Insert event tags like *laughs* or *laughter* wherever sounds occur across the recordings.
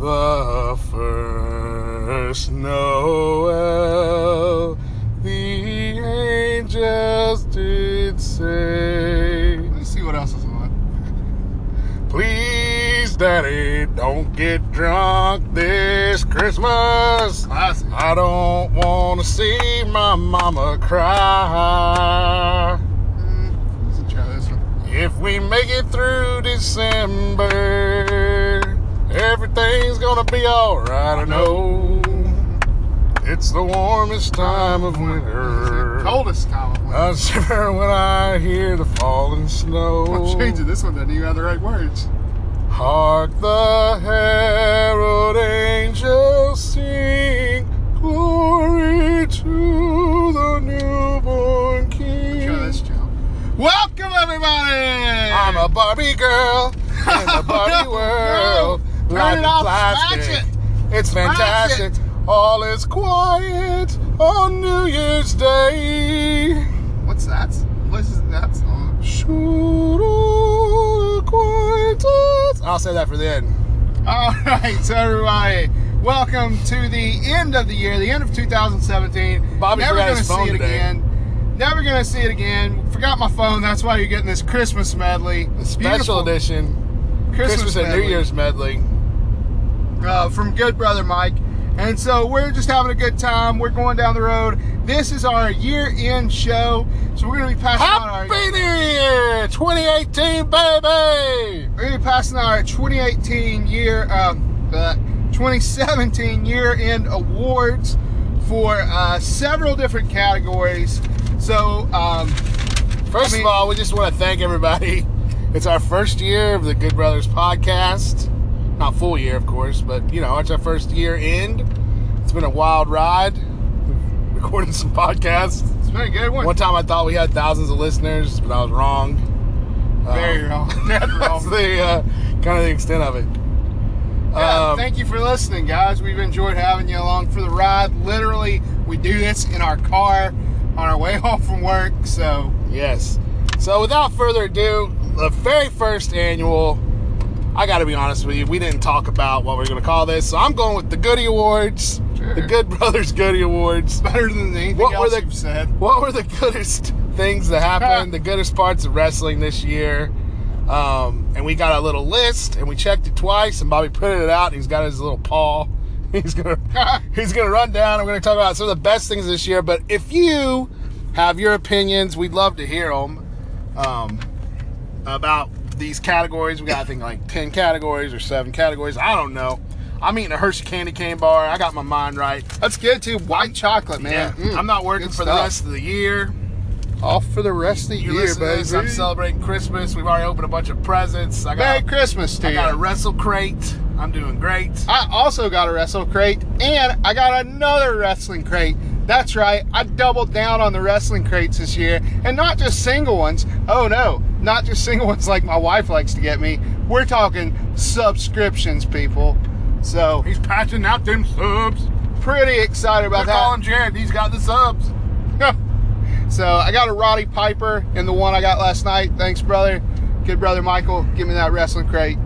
The first Noel, the angels did say, Let's see what else is on. *laughs* Please, Daddy, don't get drunk this Christmas. Classic. I don't want to see my mama cry. Mm, let's try this one. If we make it through December, everything's gonna be alright. I know it's the warmest time of It's the winter. coldest time of winter. I shiver *laughs* when I hear the falling *laughs* I'll change it. snow. This one doesn't even have the right words. Hark the herald angels sing, glory to the newborn King. Try this, Joe. Welcome, everybody! I'm a Barbie girl in the Barbie *laughs* No, world. no. Life Turn it is off. plastic. Smash it. It's Smash fantastic. it. All is quiet on New Year's Day. What's that? What is that song? Shoo-doo, acquaintance. I'll say that for the end. All right, so everybody, welcome to the end of the year, the end of 2017. Bobby Never forgot gonna his see phone it today. again. Never gonna see it again. Forgot my phone. That's why you're getting this Christmas medley. Special Beautiful edition Christmas, and medley. New Year's medley. uh, from Good Brother Mike. And so we're just having a good time. We're going down the road. This is our year-end show, so we're gonna be passing out our Happy New Year 2018, baby! we're gonna be passing out our 2018 year, uh, uh, 2017 year-end awards for uh, several different categories. So um, First I mean- of all, we just want to thank everybody. *laughs* It's our first year of the Good Brothers podcast. Not full year, of course, but you know, it's our first year end. It's been a wild ride. We've recorded some podcasts. it's been a good one. One time I thought we had thousands of listeners, but I was wrong. Very Um, wrong. *laughs* *laughs* Dead That's wrong. the uh, kind of the extent of it. Yeah, Um, thank you for listening, guys. We've enjoyed having you along for the ride. Literally, we do this in our car on our way *laughs* home from work. So Yes. So without further ado, the very first annual. I got to be honest with you, we didn't talk about what we are going to call this, so I'm going with the Goody Awards, Sure. the Good Brothers Goody Awards. better than anything What were else the- you've *laughs* said. What were the goodest things that happened, the goodest parts of wrestling this year? Um, and we got a little list, and we checked it twice, and Bobby printed it out. He's got his little paw. *laughs* He's gonna he's gonna run down. I'm gonna talk about some of the best things this year. But if you have your opinions, we'd love to hear them um, about these categories. We got I think like ten categories or seven categories. I don't know. I'm eating a Hershey candy cane bar. I got my mind right. Let's get to white chocolate, Yeah, man. mm, I'm not working good for the stuff. rest of the year. off for the rest of the You year, listen to baby. this, I'm celebrating Christmas. We've already opened a bunch of presents. I Merry got, a, Christmas to I you. got a wrestle crate. I'm doing great. I also got a wrestle crate, and I got another wrestling crate. That's right, I doubled down on the wrestling crates this year, and not just single ones. Oh no, not just *laughs* single ones like my wife likes to get me. We're talking subscriptions, people. So He's patching out them subs. pretty excited I about call that. him Jared. He's got the subs. so I got a Roddy Piper in the one I got last night. Thanks, brother. Good brother Michael, give me that wrestling crate.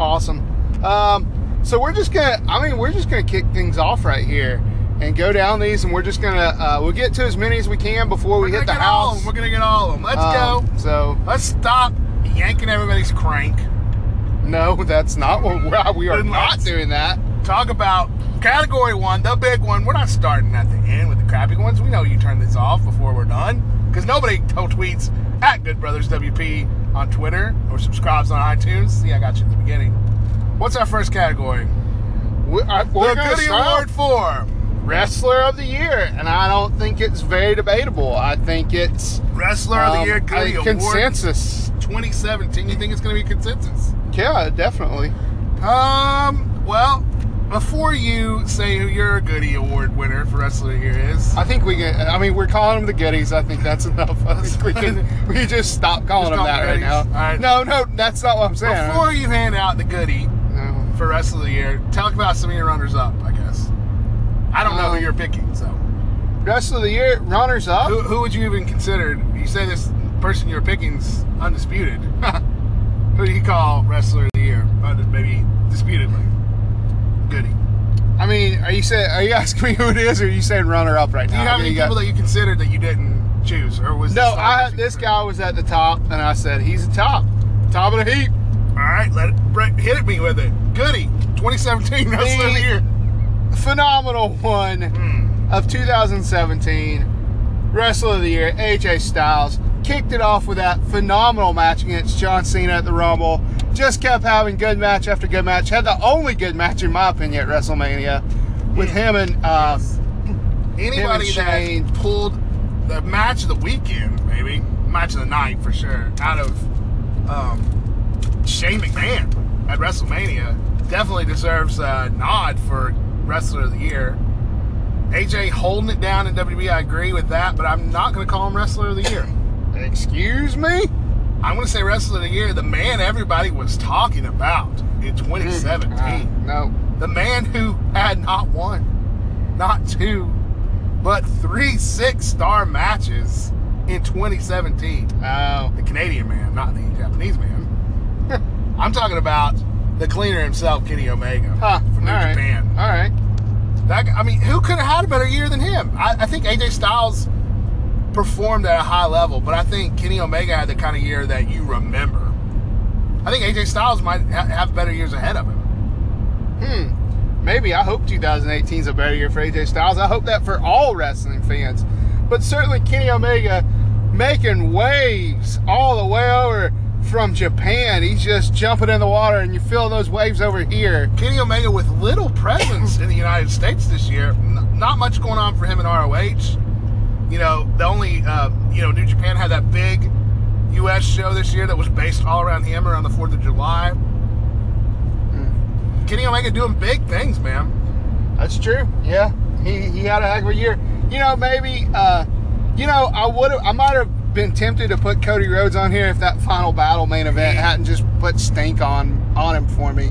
Awesome. Um, so we're just gonna, I mean, we're just gonna kick things off right here and go down these, and we're just gonna, uh, we'll get to as many as we can before we We're gonna hit the get all of house. them. We're gonna get all of them. Let's Um, go. So Let's stop yanking everybody's crank. no, that's not what *laughs* we're, we are Then not let's- doing that. Talk about category one, the big one. We're not starting at the end with the crappy ones. We know you turn this off before we're done because nobody t- tweets at Good Brothers WP on Twitter or subscribes on iTunes. See, I got you at the beginning. What's our first category? We, I, we're the gonna Goody start Award for wrestler of the year, and I don't think it's very debatable. I think it's Wrestler of the um, Year a Goody Award consensus. 2017. You think it's going to be consensus? Yeah, definitely. Um, well, before you say who your Goody Award winner for Wrestler of the Year is, I think we can. I mean, we're calling them the goodies. I think that's enough. I think we can. *laughs* We can just stop calling Just them call that right them now. goodies. All right. No, no, that's not what I'm saying. before you hand out the Goody, no. for rest of the year. Talk about some of your runners up, I guess. I don't know Um, who you're picking, so Rest of the year, runners up. who, who would you even consider? You say this person you're picking's undisputed. *laughs* who do you call wrestler of the year? Unde- Maybe disputedly. Are you saying? Are you *laughs* asking me who it is, or are you saying runner up right Do now? you have I any mean, people that you considered that you didn't choose, or was no, This I this guy was at the top, and I said he's a top, top of the heap. All right, let it Brett, hit it me with it. Goody, 2017 wrestler of the year. phenomenal one of 2017 Wrestler of the Year, AJ Styles. Kicked it off with that phenomenal match against John Cena at the Rumble. Just kept having good match after good match. Had the only good match, in my opinion, at WrestleMania with him and uh, Anybody Shane. that pulled the match of the weekend, maybe match of the night for sure, out of um, Shane McMahon at WrestleMania, definitely deserves a nod for wrestler of the year. AJ holding it down in WWE, I agree with that, but I'm not going to call him wrestler of the year. excuse me, I'm going to say wrestler of the year, the man everybody was talking about in 2017. Uh, no, the man who had not one, not two, but three six star matches in 2017. no. The Canadian man, not the Japanese man. *laughs* I'm talking about the cleaner himself, Kenny Omega Huh. from New all right. Japan. All right. That guy, I mean, who could have had a better year than him? I, I think AJ Styles performed at a high level, but I think Kenny Omega had the kind of year that you remember. I think AJ Styles might ha- have better years ahead of him. Hmm. Maybe I hope 2018 is a better year for AJ Styles. I hope that for all wrestling fans, but certainly Kenny Omega making waves all the way over from Japan. He's just jumping in the water, and you feel those waves over here. Kenny Omega with little presence in the United States this year. N- not much going on for him in ROH. You know, the only uh, you know New Japan had that big U.S. show this year that was based all around him around the Fourth of July. Kenny Omega doing big things, man. That's true. Yeah, he, he had a heck of a year. You know, maybe, uh, you know, I would have, I might have been tempted to put Cody Rhodes on here if that final battle main event hadn't just put stink on on him for me.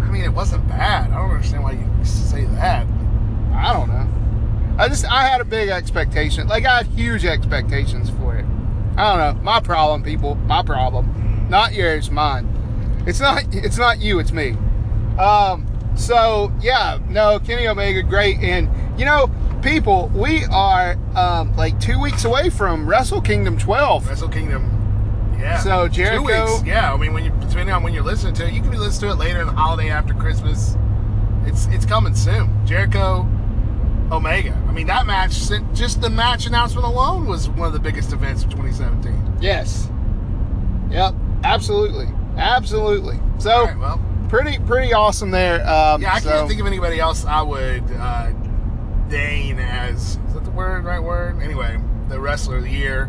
I mean, it wasn't bad. I don't understand why you say that. I don't know. I just I had a big expectation. Like I had huge expectations for it. I don't know. My problem, people. My problem. Not yours, mine. It's not it's not you, it's me. Um so yeah, no, Kenny Omega great and you know, people, we are um like 2 weeks away from Wrestle Kingdom 12. Wrestle Kingdom. Yeah. So, Jericho- Two weeks. Yeah. I mean, when you depending on when you're listening to it, you can be listening to it later in the holiday after Christmas. It's it's coming soon. Jericho, Omega. I mean, that match, sent- just the match announcement alone was one of the biggest events of 2017. Yes. Yep, absolutely. Absolutely. All So right. Well. pretty pretty awesome there. Um Yeah. I so- can't think of anybody else I would uh, deign as is that the word right word? Anyway, the wrestler of the year.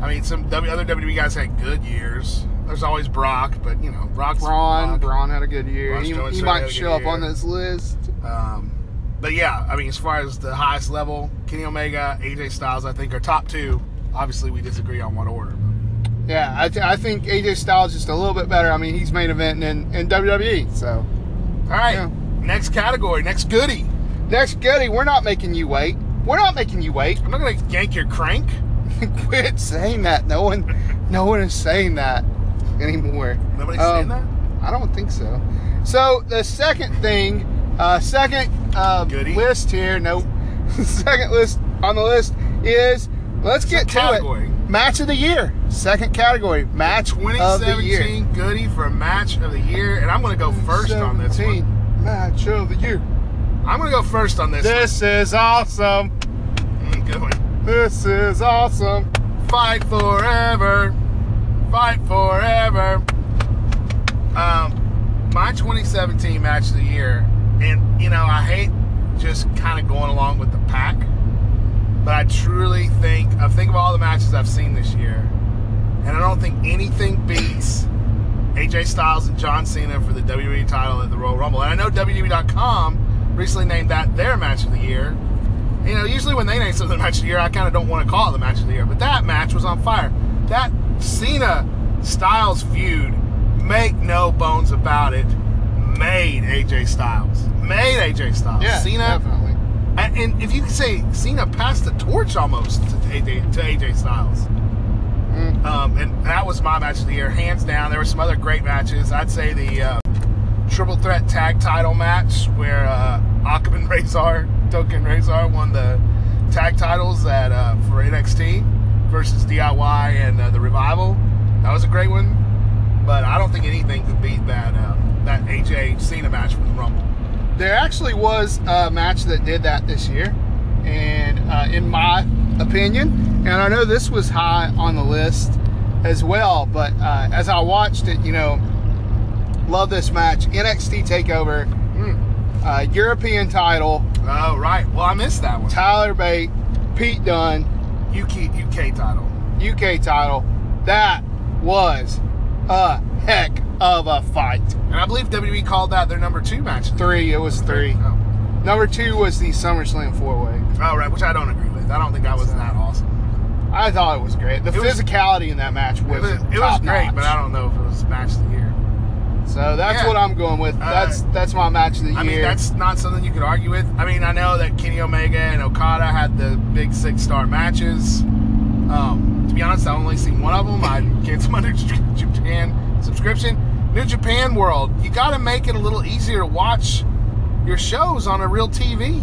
I mean, some w, other WWE guys had good years. There's always Brock, but you know, Brock's Braun, Brock. Braun had a good year. Braun He, Strowman certainly he had might a show good up on year. this list. Um, but yeah, I mean, as far as the highest level, Kenny Omega, AJ Styles, I think are top two. Obviously, we disagree on what order. Yeah, I, th- I think AJ Styles just a little bit better. I mean, he's main eventing in, in WWE. So All right, Yeah. next category, next goodie. next goodie, we're not making you wait. We're not making you wait. *laughs* I'm not gonna yank your crank. Quit saying that. No one, no one is saying that anymore. Nobody's saying Um, that. I don't think so. So the second thing, uh, second uh, Goodie. list here. No, *laughs* second list on the list is let's get to category. it. Match of the year. Second category. Match of the year. 2017 goodie for match of the year, and I'm gonna go first on this one. 2017 Match of the year. I'm gonna go first on this. This is awesome. one. Mm, good one. This is awesome. Fight forever. Fight forever. Um, my 2017 match of the year, and you know, I hate just kind of going along with the pack, but I truly think I think of all the matches I've seen this year, and I don't think anything beats AJ Styles and John Cena for the WWE title at the Royal Rumble. And I know WWE.com recently named that their match of the year. You know, usually when they name something match of the year, I kind of don't want to call it the match of the year. But that match was on fire. That Cena Styles feud, make no bones about it, made AJ Styles. Made AJ Styles. Yeah, Cena definitely. and, and if you could say Cena passed the torch almost to AJ, to AJ Styles. Mm. Um, and that was my match of the year, hands down. There were some other great matches. I'd say the uh, triple threat tag title match where uh, *laughs* Akman Razar, Token Razar won the tag titles at uh, for NXT versus DIY and uh, the Revival. That was a great one, but I don't think anything could beat that uh, that AJ Cena match from the Rumble. There actually was a match that did that this year, and uh, in my opinion, and I know this was high on the list as well, but uh, as I watched it, you know, love this match NXT Takeover, uh, European title, Oh right, well I missed that one. Tyler Bate, Pete Dunne, UK UK title. UK title. That was a heck of a fight. And I believe WWE called that their number two match. Three, it was three. Oh. Number two was the SummerSlam four way. oh, right, which I don't agree with. I don't think that was that awesome. I thought it was great. The It was- physicality in that match was It was, it was top great, but I notch. don't know if it was match of the year. So that's Yeah. Uh, what I'm going with. That's that's my match of the year. I mean, that's not something you could argue with. I mean, I know that Kenny Omega and Okada had the big six star matches. Um, to be honest, I've only seen one of them. I canceled my New J- Japan subscription. New Japan World, you got to make it a little easier to watch your shows on a real TV.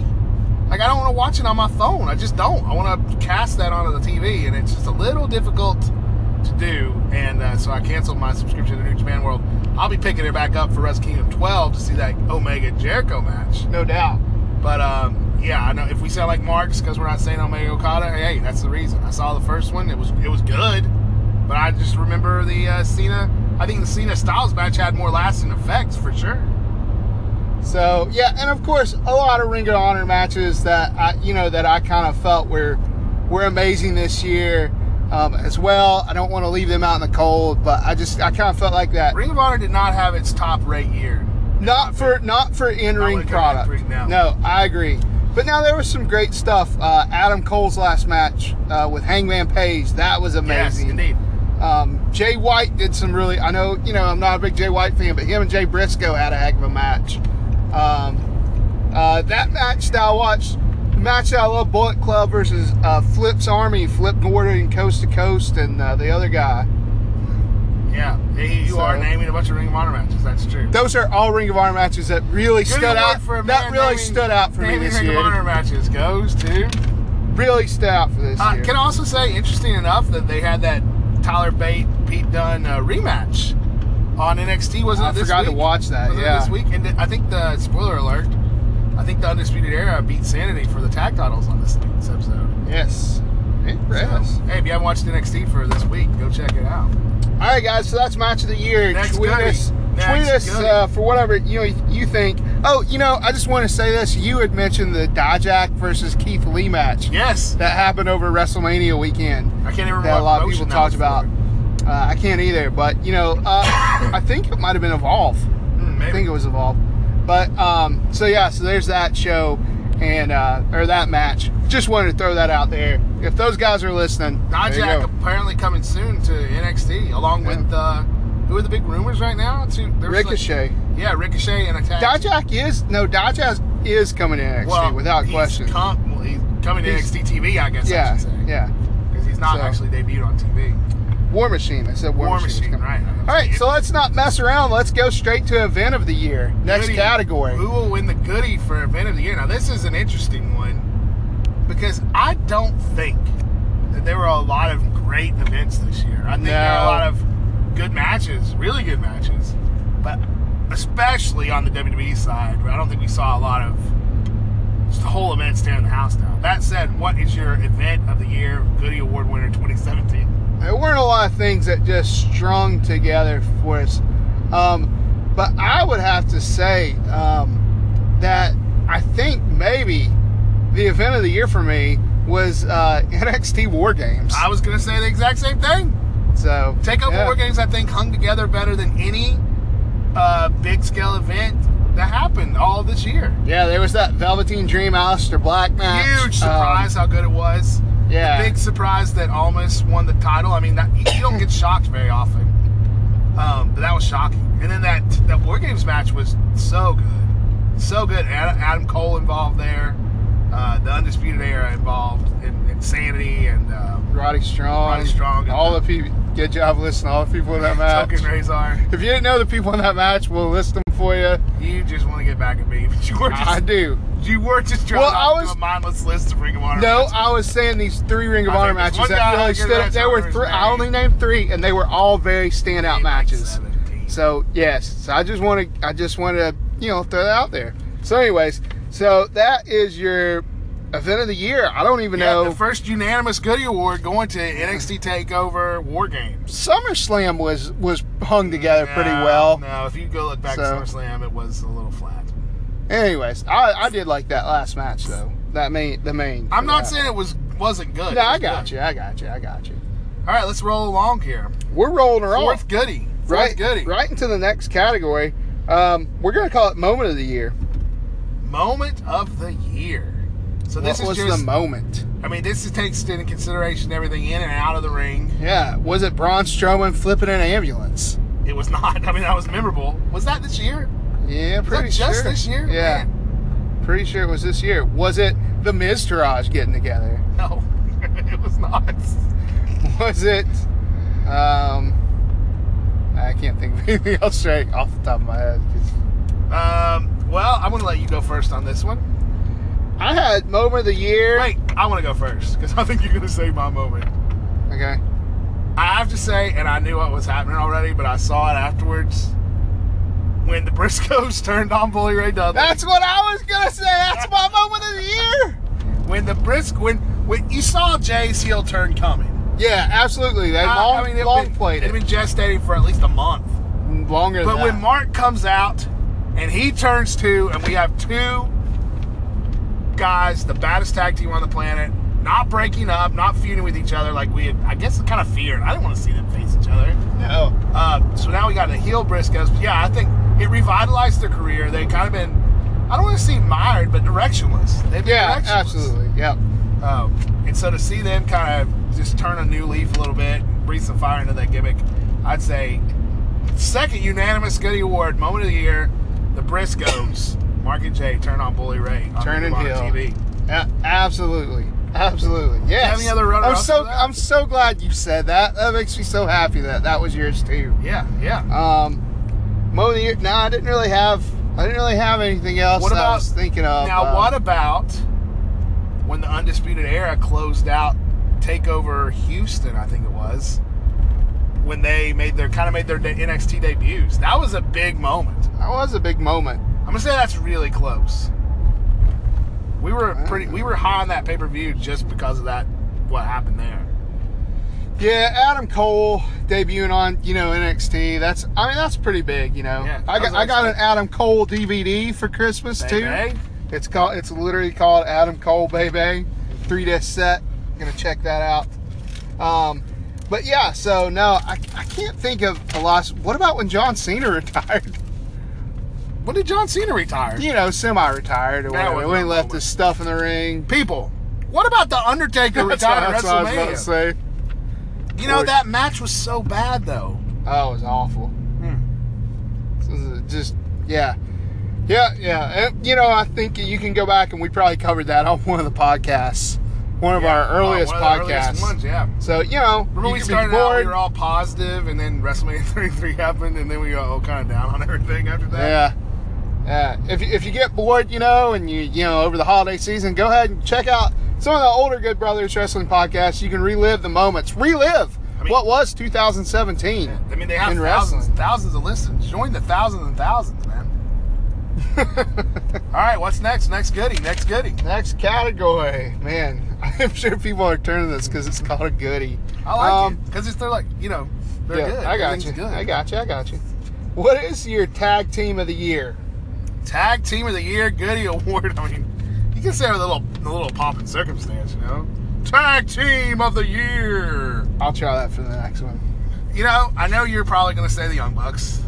Like, I don't want to watch it on my phone. I just don't. I want to cast that onto the TV, and it's just a little difficult to do. And uh, so I canceled my subscription to New Japan World. I'll be picking it back up for Wrestle Kingdom 12 to see that Omega Jericho match. no doubt. But um, yeah, I know if we sound like marks because we're not saying Omega Okada, hey, that's the reason. I saw the first one; it was it was good, but I just remember the uh, Cena. I think the Cena Styles match had more lasting effects for sure. So yeah, and of course a lot of Ring of Honor matches that I you know that I kind of felt were were amazing this year um, as well. I don't want to leave them out in the cold, but I just I kind of felt like that. Ring of Honor did not have its top rate year. Not for not for in ring like an product. in-ring now. No, I agree. But now there was some great stuff. Uh, Adam Cole's last match uh, with Hangman Page that was amazing. Yes, indeed. Um, Jay White did some really. I know, you know, I'm not a big Jay White fan, but him and Jay Briscoe had a heck of a match. Um, uh, that match that I watched, the match that I love, Bullet Club versus uh, Flip's Army, Flip Gordon, coast to coast, and uh, the other guy. Yeah, Yeah, you, you So- are naming a bunch of Ring of Honor matches. That's true. Those are all Ring of Honor matches that really Good stood award out. for a that man really naming- stood out for me naming this Ring year. of Honor matches goes to. Really stood out for this Uh, year. can I also say, interesting enough, that they had that Tyler Bate Pete Dunne uh, rematch on NXT. Wasn't I it this forgot to week? watch that, Wasn't it yeah. this week, and I think the spoiler alert. I think the Undisputed Era beat Sanity for the tag titles on this, this episode. yes. Yes. So, hey, if you haven't watched NXT for this week, go check it out. All right, guys. So that's match of the year. Next tweet goodie. us, tweet Next us goodie. uh, for whatever you know you think. Oh, you know, I just want to say this. You had mentioned the Dijak versus Keith Lee match Yes, that happened over WrestleMania weekend I can't even remember that what a lot of promotion people that talked was about. Uh, I can't either, but you know, uh, I think it might have been Evolve. for. Hmm, maybe. I think it was Evolve. But um, so yeah, so there's that show and uh, or that match. Just wanted to throw that out there. If those guys are listening, there you Dijak go. apparently coming soon to NXT, along Yeah. with uh, who are the big rumors right now? To there's like- Ricochet. yeah, Ricochet and Attack. Dijak is no Dijak is coming in NXT without he's question. Com- well, he's coming to He's- NXT TV, I guess I yeah, should say. yeah. Because he's not So- actually debuted on TV. War Machine. I said War, War Machine's Machine, coming. right. All right, so let's not mess around. Let's go straight to event of the year. Next Goodie. category. Who will win the goodie for event of the year? Now, this is an interesting one because I don't think that there were a lot of great events this year. I think there were a No. lot of good matches, really good matches, but especially on the WWE side, where I don't think we saw a lot of just the whole event tearing the house down. That said, what is your event of the year goodie award winner 2017? There weren't a lot of things that just strung together for us. Um, but I would have to say um, that I think maybe the event of the year for me was uh, *laughs* NXT War Games. I was gonna say the exact same thing. so Takeover yeah. War Games, I think, hung together better than any uh, big scale event that happened all this year. Yeah, there was that Velveteen Dream Alistair Black match. Huge surprise how good it was. Um, yeah. Big surprise that almost won the title. I mean, that, you you don't *laughs* get shocked very often, um, but that was shocking. And then that that War Games match was so good, so good. Ad- Adam Cole involved there, uh, the Undisputed Era involved, and, and Sanity and. Um, Roddy Strong. Roddy Strong and All the- the people. Good job listing all the *laughs* people in that match. Tuck and Razor. If you didn't know the people in that match, we'll list them for you. You just want to get back at me, but you were just I do. you were just trying Well, to I was- do a mindless list of Ring of Honor. No, matches. I was saying these three Ring of I Honor think there's one matches that guy really who can stood up. match There up were with three. his I name. only named three, and they were all very standout Like matches. 17. So yes, so I just want to, I just want to, you know, throw that out there. So anyways, so that is your event of the year. I don't even Yeah, know. the first unanimous Goody Award going to NXT Takeover War Games. SummerSlam was was hung together pretty No, well. No, if you go look back So- at SummerSlam, it was a little flat. Anyways, I, I did like that last match though. That main, the main. I'm not that. saying it was wasn't good. No, It was I got good. you. I got you. I got you. All right, let's roll along here. We're rolling her off. Fourth Goody. Fourth right, Goody. right into the next category. Um, we're gonna call it moment of the year. Moment of the year. So this what was is just. the moment? I mean, this is, takes into consideration everything in and out of the ring. Yeah, was it Braun Strowman flipping an ambulance? It was not. *laughs* I mean, that was memorable. Was that this year? Yeah, Was that pretty sure. just this year? Yeah, pretty sure it was this year. Was it the Miz Taraj getting together? Man, *laughs* *laughs* no, it was not. Was it? Um, I can't think of *laughs* anything else straight off the top of my head. 'cause- Um, well, I'm gonna let you go first on this one. I had moment of the year. Wait, I want to go first because I think you're going to save my moment. Okay. I have to say, and I knew what was happening already, but I saw it afterwards when the Briscoes *laughs* turned on Bully Ray Dudley. That's what I was gonna say. That's my moment of the year. when the Brisk, when when you saw Jay's heel turn coming. Yeah, absolutely. They I- long, I mean, it'd long been, played It'd it. been gestating for at least a month. Longer But than when that. Mark comes out and he turns two, and we have two guys, the baddest tag team on the planet, not breaking up, not feuding with each other like we had, I guess, kind of feared. I didn't want to see them face each other. no. Uh, so now we got the heel Briscoes. But yeah, I think it revitalized their career. They kind of been, I don't want to see mired, but directionless. They've been Yeah, directionless. absolutely. Yep. Um, and so to see them kind of just turn a new leaf a little bit, breathe some fire into that gimmick, I'd say second unanimous Goody Award moment of the year, the Briscoes, Mark and Jay turn on Bully Ray on Turn Ring and of Honor heel. TV. Yeah, absolutely. Absolutely. Yes. have any other runner-ups I'm so for that? I'm so glad you said that. That makes me so happy that that was yours too. Yeah, yeah. Um, moment of the year. No, I didn't really have. I didn't really have anything else. What that I about- was thinking of? now, Um, what about when the Undisputed Era closed out Takeover Houston? I think it was when they made their kind of made their de- NXT debuts. That was a big moment. That was a big moment. I'm gonna say that's really close. We were pretty, we were high on that pay per view just because of that. What happened there? Yeah, Adam Cole debuting on you know NXT. That's I mean that's pretty big. You know, Yeah, I that got was I got an nice. Adam Cole DVD for Christmas too. Baby. It's called it's literally called Adam Cole Baby, three disc set. gonna check that out. Um, but yeah, so no, I, I can't think of a lot. What about when John Cena *laughs* retired? When did John Cena retire? You know, semi-retired or That whatever. was When he a left moment. his stuff in the ring. People, what about the Undertaker retired at *laughs* That's what I was about to WrestleMania? say. You know Boy. that match was so bad though. Oh, it was awful. Hmm. This is Just yeah, yeah, yeah. And, you know, I think you can go back and we probably covered that on one of the podcasts, one of Yeah. our earliest Oh, one of the podcasts. earliest ones, yeah. So you know, Remember you we could be started out, we bored. were all positive, and then *laughs* WrestleMania 33 happened, and then we got all kind of down on everything after that. yeah, yeah. If you- if you get bored, you know, and you you know over the holiday season, go ahead and check out some of the older Good Brothers Wrestling podcasts. You can relive the moments, relive I mean- what was 2017. I mean, they have In thousands, wrestling. thousands of listens. Join the thousands and thousands, *laughs* man. all right, what's next? Next goodie, next goodie. Next category, man. *laughs* I'm sure people are turning this because it's called a goodie. I like Um, it because it's they're like you know they're yeah, good. I got you. Everything's Good. I got you. I got you. What is your tag team of the year? tag team of the year Goody Award. *laughs* I mean, you can say it with a little a little pomp and circumstance, you know. Tag team of the year. I'll try that for the next one. You know, I know you're probably gonna say the Young Bucks,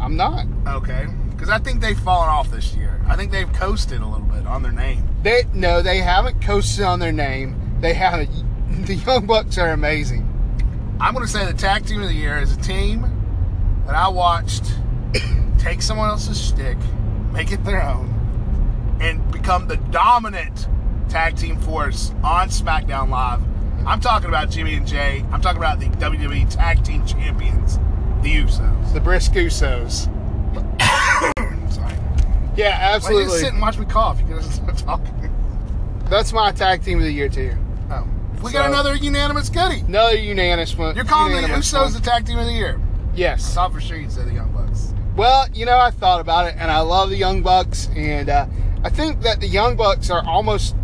I'm not. okay? Because I think they've fallen off this year. I think they've coasted a little bit on their name. They no, they haven't coasted on their name. They have *laughs* the Young Bucks are amazing. I'm gonna say the tag team of the year is a team that I watched *coughs* take someone else's stick, make it their own, and become the dominant tag team force on SmackDown Live I'm talking about Jimmy and Jay. I'm talking about the WWE Tag Team Champions, the Usos. The Briscusos. I'm sorry. Why do Yeah, you just absolutely. sit and watch me cough? You guys are *laughs* talking. That's my tag team of the year too. Oh. We So- got another unanimous goodie. Another unanimous one. You're calling the unanimous Usos one. the Tag Team of the Year. I yes. thought for sure you'd say the Young Bucks. Well, you know, I thought about it, and I love the Young Bucks, and uh, I think that the Young Bucks are almost.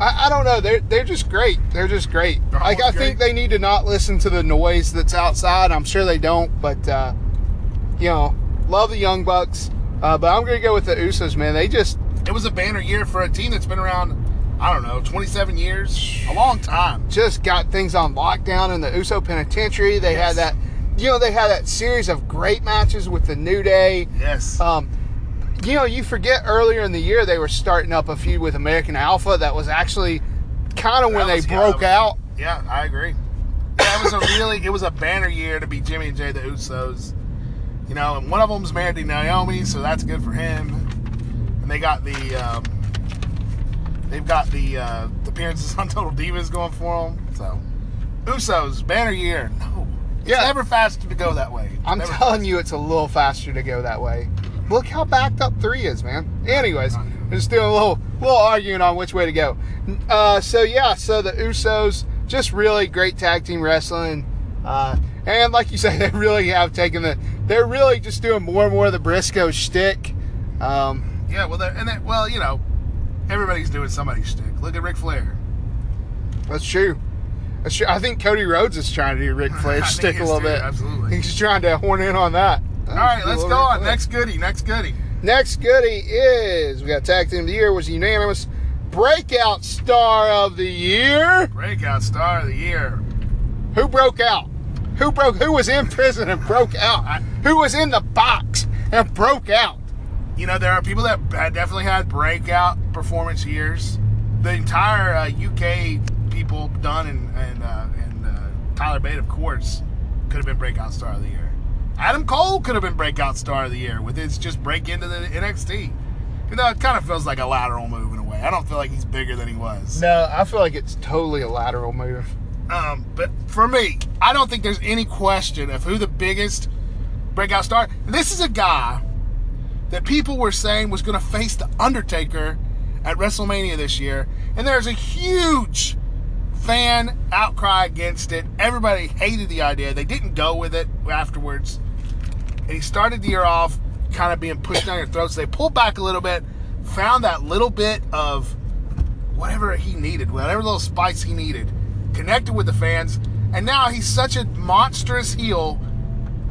I, I don't know. They're they're just great. They're just great. They're like I always think Oh, great. they need to not listen to the noise that's outside. I'm sure they don't, but uh, you know, love the Young Bucks. Uh, but I'm gonna go with the Usos, man. They just It was a banner year for a team that's been around, I don't know, 27 years? A long time. just got things on lockdown in the Uso Penitentiary. They Yes. had that, you know, they had that series of great matches with the New Day. Yes. Um, you know, you forget earlier in the year they were starting up a feud with American Alpha. That was actually kind of That when they was- yeah, broke that out. Yeah, I agree. That was a really it was a banner year to be Jimmy and Jay the Usos. You know, and one of them's married to Naomi, so that's good for him. And they got the um, they've got the uh, appearances on *laughs* Total Divas going for them. So Usos banner year. No, it's Yeah. never fast to go that way. It's I'm never telling you, it's a little faster to go that way. Look how backed up three is, man. Anyways, we're just doing a little, little arguing on which way to go. Uh, so yeah, so the Usos just really great tag team wrestling, uh, and like you *laughs* say, they really have taken the. They're really just doing more and more of the Briscoe shtick. Um, Yeah, well, they're- and that, well, you know, everybody's doing somebody's shtick. Look at Ric Flair. that's true. That's true. I think Cody Rhodes is trying to do *laughs* Ric I Flair think shtick he a is little too, bit. absolutely. He's trying to horn in on that. All right, let's go on. Next Next. goodie. Next goodie. Next goodie is we got tag team of the year was unanimous breakout star of the year. Breakout star of the year. Who broke out? Who broke? Who was in prison and broke out? Who was in the box and broke out? you know, there are people that ha- definitely had breakout performance years. The entire uh, UK people, Dunn and and, uh, and uh, Tyler Bate, of course, could have been breakout star of the year. Adam Cole could have been breakout star of the year with his just break into the NXT. You know, it kind of feels like a lateral move in a way. I don't feel like he's bigger than he was. No, I feel like it's totally a lateral move. Um, but for me, I don't think there's any question of who the biggest breakout star. This is a guy that people were saying was going to face the Undertaker at WrestleMania this year, and there's a huge fan outcry against it. Everybody hated the idea. They didn't go with it afterwards. And he started the year off kind of being pushed down your throat. So they pulled back a little bit, found that little bit of whatever he needed, whatever little spice he needed, connected with the fans, and now he's such a monstrous heel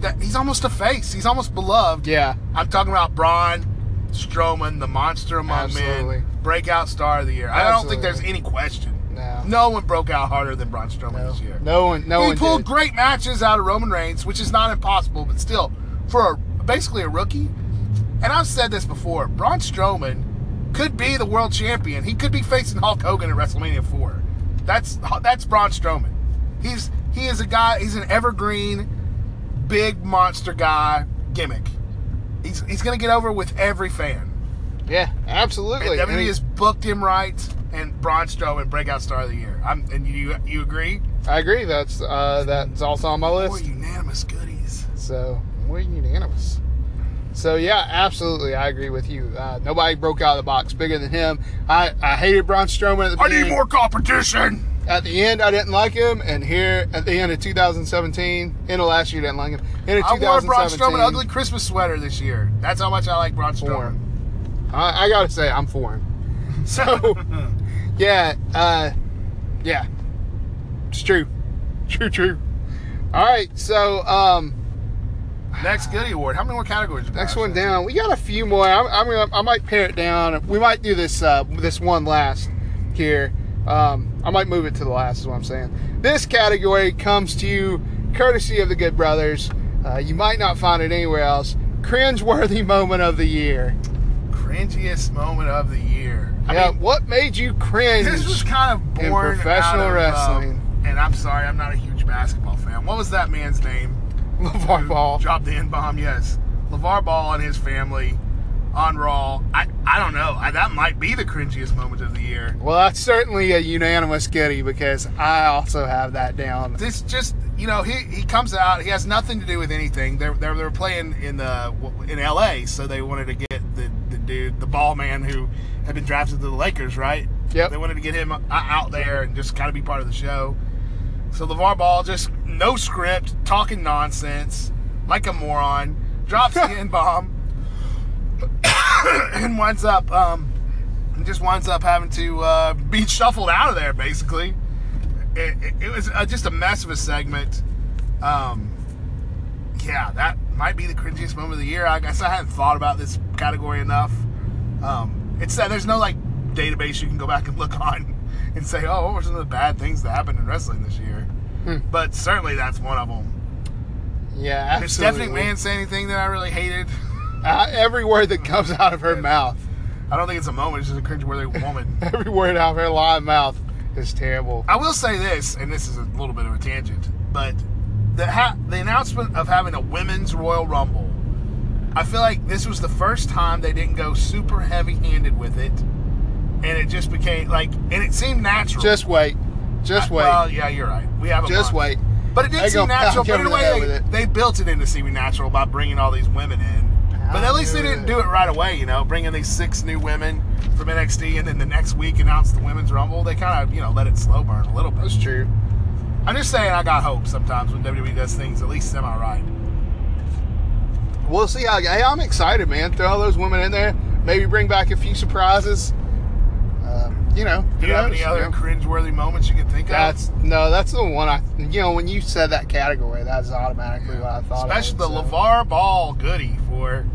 that he's almost a face. He's almost beloved. Yeah, I'm talking about Braun Strowman, the monster among Absolutely. men, breakout star of the year. I don't think there's Absolutely. any question. No. No one broke out harder than Braun Strowman no, this year. no one, no he one pulled did. great matches out of Roman Reigns, which is not impossible, but still, for a, basically a rookie. And I've said this before: Braun Strowman could be the world champion. He could be facing Hulk Hogan at WrestleMania Four. That's that's Braun Strowman. He's he is a guy. He's an evergreen, big monster guy gimmick. He's he's gonna get over with every fan. yeah, absolutely. And I WWE mean, has booked him right, and Braun Strowman breakout star of the year. I'm and you you agree? I agree. That's uh, that's also on my Or list. unanimous goodies. So we're unanimous. So yeah, absolutely, I agree with you. Uh, nobody broke out of the box bigger than him. I, I hated Braun Strowman at the I need beginning. more competition. At the end, I didn't like him, and here at the end of 2017, end of last year, didn't like him. End of I wore a 2017, Braun Strowman ugly Christmas sweater this year. That's how much I like Braun for Strowman. him. I, I gotta say, I'm for *laughs* him. So yeah, uh, yeah, it's true, true, true. All right, so um, Next Goody Award. How many more categories? do we Next have? one down. We got a few more. I'm, I'm gonna, I might pare it down. We might do this uh, this one last here. Um, I might move it to the last. Is what I'm saying. This category comes to you courtesy of the Good Brothers. Uh, you might not find it anywhere else. Cringeworthy *laughs* moment of the year. Cringiest moment of the year. I yeah, mean, what made you cringe? this was kind of born out professional of, um, wrestling. and I'm sorry, I'm not a huge basketball fan. What was that man's name? LeVar Ball. Dropped the N bomb. Yes, Levar Ball and his family on Raw. I, I don't know. I, that might be the cringiest moment of the year. Well, that's certainly a unanimous goodie because I also have that down. This just you know he, he comes out. He has nothing to do with anything. They're they're, they're playing in the in L.A. So they wanted to get the, the dude the ball man who had been drafted to the Lakers right. Yep. They wanted to get him o- out there and just kind of be part of the show. So LeVar Ball just no script, talking nonsense like a moron, drops the N bomb, *coughs* and winds up um, and just winds up having to uh, be shuffled out of there. Basically, it, it, it was uh, just a mess of a segment. Um, yeah, that might be the cringiest moment of the year. I guess I hadn't thought about this category enough. Um, it's that there's no like database you can go back and look on *laughs* and say, oh, what were some of the bad things that happened in wrestling this year? Hmm. But certainly that's one of them. Yeah, Did absolutely. Stephanie McMahon say anything that I really hated? *laughs* Uh, every word that comes out of her mouth, I don't think it's a moment. It's just a cringeworthy woman. *laughs* every word out of her lying mouth is terrible. I will say this, and this is a little bit of a tangent, but the ha- the announcement of having a women's Royal Rumble, I feel like this was the first time they didn't go super heavy handed with it, and it just became like, and it seemed natural. Just wait. Just I- wait. Well, yeah, you're right. We have a Just month. wait. But it They did seem gonna natural. pound But in a you over the head way, with it. they built it into seeming natural by bringing all these women in. But at Pound least they you over didn't the do it right away, you know, bringing these six new women from NXT and then the next week announce the women's rumble. They kind of, you know, let it slow burn a little bit. That's true. I'm just saying I got hope sometimes when WWE does things at least semi right. We'll see how. Hey, I'm excited, man. Throw all those women in there. Maybe bring back a few surprises. Um, you know. Do who you have knows, any other know? cringeworthy moments you can think That's no. That's the one I. You know, when you said that category, that's automatically what I of? thought. Especially the of, so. LeVar Ball goodie *laughs* for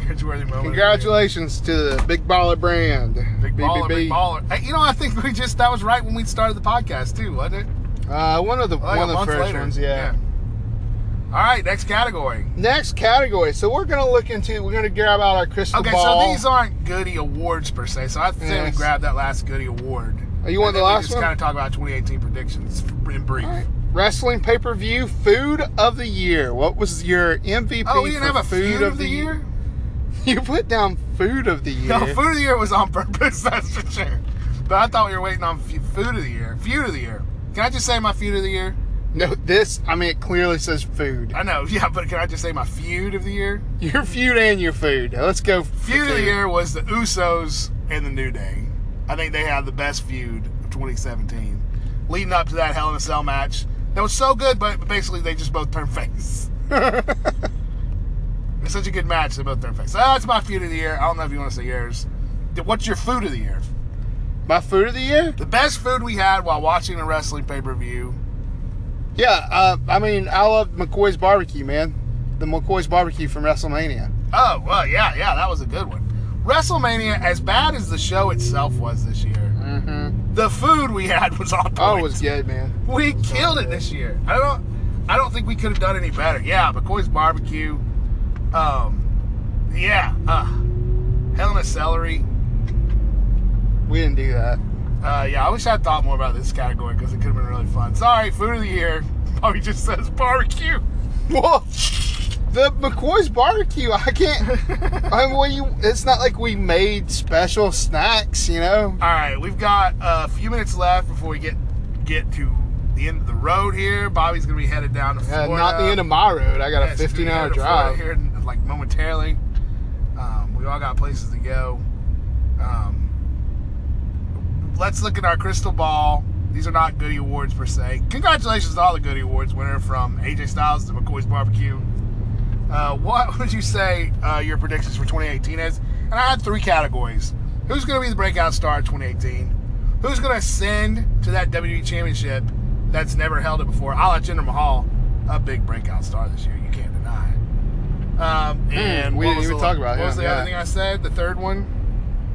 cringeworthy moment. of the year. Congratulations to the Big Baller Brand. Big baller, big BBB. baller. Hey, you know, I think we just, that was right when we started the podcast, too, wasn't it? Uh, one of the Like one a of the month first later. ones, yeah. All right, next category. Next category. So we're gonna look into. We're gonna grab out our crystal Okay, ball. so these aren't Goody awards per se. So I think Yes. we grab that last Goody award. Oh, you want And the then we last just one? kind of talk about 2018 predictions in brief. All right. Wrestling pay per view food of the year. What was your MVP? Oh, we didn't for have a food, of, the year? *laughs* You put down food of the *laughs* year. No, food of the year was on *laughs* purpose. That's for sure. But I thought we were waiting on f- food of the year. Feud of the year. Can I just say my feud of the year? No, this. I mean, it clearly says food. I know, *laughs* yeah, but can I just say my feud of the year? Your feud and your food. Let's go. for Feud of the food. year was the Usos and the New Day. I think they had the best feud of 2017. Leading up to that Hell in a Cell match, that was so good, but basically they just both turned *laughs* face. It's such a good match, they both turned face. So that's my feud of the year. I don't know if you want to say yours. Th- What's your food of the year? My food of the year. The best food we had while watching a wrestling pay per view. Yeah. Uh, I mean, I love McCoy's barbecue, man. The McCoy's barbecue from WrestleMania. Oh, well, yeah, yeah, that was a good one. WrestleMania, as bad as the show itself was this year, Mm-hmm. the food we had was on point. Oh, it was good, man. We killed it this year. I don't. I don't think we could have done any better. Yeah, McCoy's barbecue. Um, yeah. Uh, Helena celery. We didn't do that. Uh, yeah. I wish I would thought more about this category because it could have been really fun. Sorry, food of the year *laughs* probably just says barbecue. Whoa. The McCoy's barbecue. *laughs* I can't. I mean, well, you. It's not like we made special snacks, you know. All right, we've got a few minutes left before we get get to the end of the road here. Bobby's gonna be headed down to Uh, Florida. not the end of my road. I got Yeah, a it's gonna be 15 hour headed to Florida drive. here, in, like momentarily. Um, we all got places to go. Um, let's look at our crystal ball. These are not Goody Awards per se. Congratulations to all the Goody Awards winner from AJ Styles to McCoy's Barbecue. Uh, what *laughs* would you say uh, your predictions for 2018 is? And I had three categories. Who's going to be the breakout star of 2018? Who's going to ascend to that WWE championship that's never held it before? I'll let Jinder Mahal, a big breakout star this year. You can't deny. it. Um, and Hmm, we what didn't was even the- talk about What was him, the yeah. other thing I said? The third one.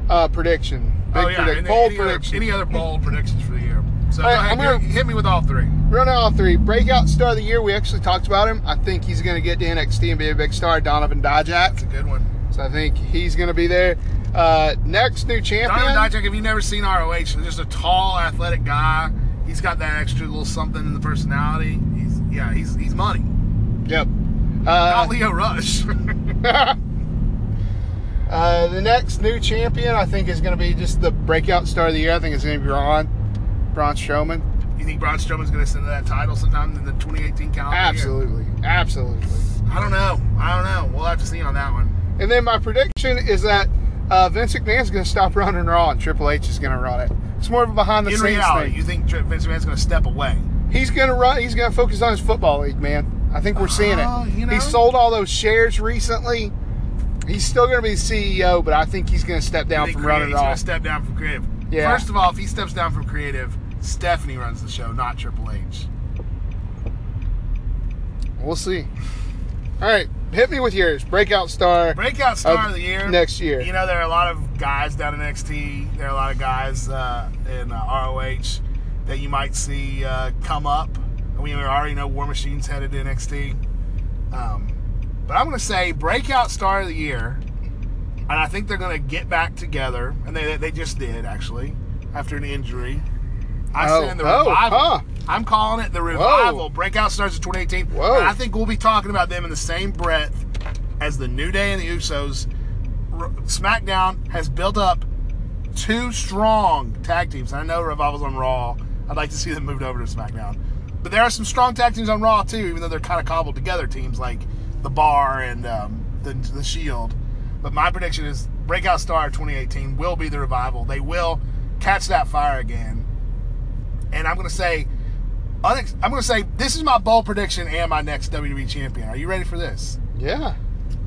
Uh, prediction. Big oh yeah, prediction. and Bold any, prediction. Other, any other bold predictions for the year? So All right, go ahead, I'm gonna- hit- hit me with all three. Run out of three. Breakout star of the year. We actually talked about him. I think he's going to get to NXT and be a big star. Donovan That's Dijak. a good one. So I think he's going to be there. Uh, next new champion. Donovan Dijak, if you've never seen ROH, he's just a tall, athletic guy. He's got that extra little something in the personality. He's yeah, he's he's Uh, money. Yep. Not *laughs* Uh, Leo Rush. Uh, the next new champion, I think, is going to be just the breakout star of the year. I think it's going to be Braun, Braun Strowman. You think Braun Strowman's going to sit to that title sometime in the 2018 calendar? year? Absolutely, absolutely. I don't know. I don't know. We'll have to see on that one. And then my prediction is that uh, Vince McMahon's going to stop running Raw, and Triple H is going to run it. It's more of a behind the in scenes reality, thing. you think Tri- Vince McMahon's going to step away? He's going to run. He's going to focus on his football league, man. I think we're seeing Oh, it. you know. He sold all those shares recently. He's still going to be CEO, but I think he's going to step You down think from crea- running he's going Raw. to step down from creative. Yeah. First of all, if he steps down from creative, Stephanie runs the show, not Triple H. We'll see. All right, hit me with yours. Breakout star. Breakout star of of, the year next year. You know, there are a lot of guys down in NXT. There are a lot of guys uh, in uh, ROH that you might see uh, come up. We already know War Machine's headed to NXT. Um, but I'm going to say breakout star of the year, and I think they're going to get back together, and they they just did actually after an injury. I Oh, said in the oh, revival. huh. I'm calling it the revival. Breakout stars of 2018. Whoa. And I think we'll be talking about them in the same breath as the New Day and the Usos. R- SmackDown has built up two strong tag teams. I know Revival's on Raw. I'd like to see them moved over to SmackDown. But there are some strong tag teams on Raw too, even though they're kind of cobbled together teams like the Bar and um, the, the Shield. But my prediction is Breakout Star of 2018 will be the Revival. They will catch that fire again. And I'm going to say, unex- I'm going to say this is my bold prediction and my next WWE champion. Are you ready for this? Yeah.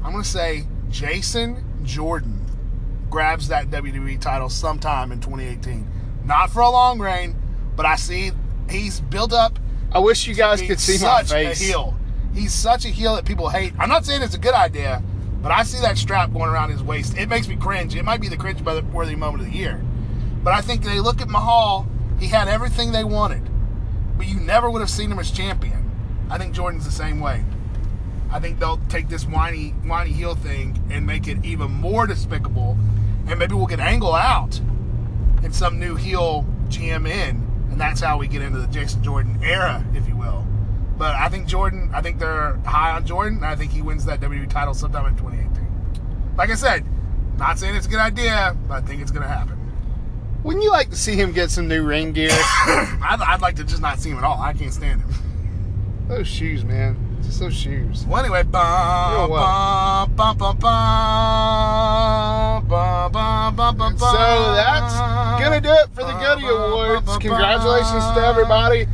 I'm going to say Jason Jordan grabs that WWE title sometime in 2018. Not for a long reign, but I see he's built up. I wish you guys could He's see my such face. a heel. He's such a heel that people hate. I'm not saying it's a good idea, but I see that strap going around his waist. It makes me cringe. It might be the cringe worthy moment of the year. But I think they look at Mahal. He had everything they wanted, but you never would have seen him as champion. I think Jordan's the same way. I think they'll take this whiny, whiny heel thing and make it even more despicable, and maybe we'll get Angle out and some new heel GM in, and that's how we get into the Jason Jordan era, if you will. But I think Jordan, I think they're high on Jordan, and I think he wins that WWE title sometime in 2018. Like I said, not saying it's a good idea, but I think it's going to *clears throat* happen. Wouldn't you like to see him get some new *laughs* ring gear? I'd, I'd like to just not see him at all. I can't stand him. those shoes, man. Just those shoes. Well, anyway, bum, what? bum, bum, bum, bum, bum, bum, bum, bum, So that's gonna do it for the Goody Awards. Congratulations to everybody.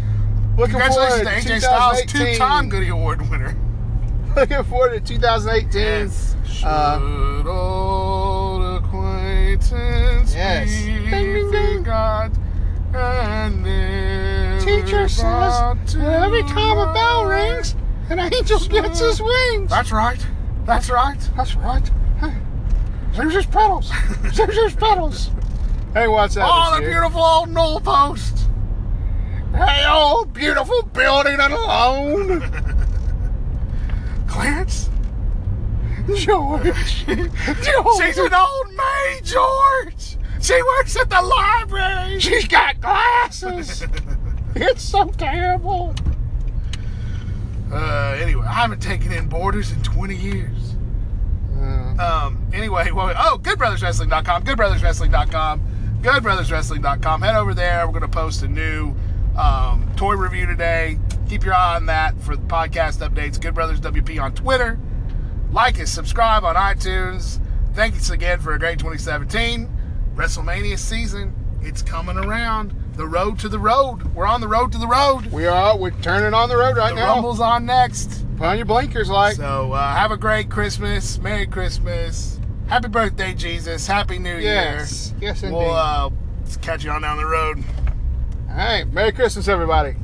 Looking Congratulations to forward AJ Styles, 2018. two-time Goody Award winner. *laughs* Looking forward to 2018. Uh, Should old acquaintance Yes. be Ding, ding, ding. forgot and never teacher says brought that every to time a bell mind? rings, an angel gets his wings. That's right. That's right. That's right. Hey, Zeus his *laughs* petals. Zeus his petals. Hey, what's that? Oh, this the year? beautiful old knoll post. Hey, old beautiful building and alone. Clarence, George. Oh, she's an old maid, George. She works at the library. She's got glasses. It's so terrible. *laughs* Uh, anyway, I haven't taken in borders in 20 years. Uh, Um, anyway, well, oh, goodbrotherswrestling.com, goodbrotherswrestling.com, goodbrotherswrestling.com. Head over there. We're going to post a new um, toy review today. Keep your eye on that for the podcast updates. Good Brothers WP on Twitter. Like us, subscribe on iTunes. Thanks again for a great 2017. WrestleMania season, it's coming around. The road to the road. We're on the road to the road. we are we're turning on the road right The now. Rumble's on next. Put on your blinkers, like. So uh, have a great Christmas, Merry Christmas, Happy Birthday, Jesus, Happy New yes, yes, Year. indeed. We'll uh, catch you on down the road. All right, Merry Christmas, everybody.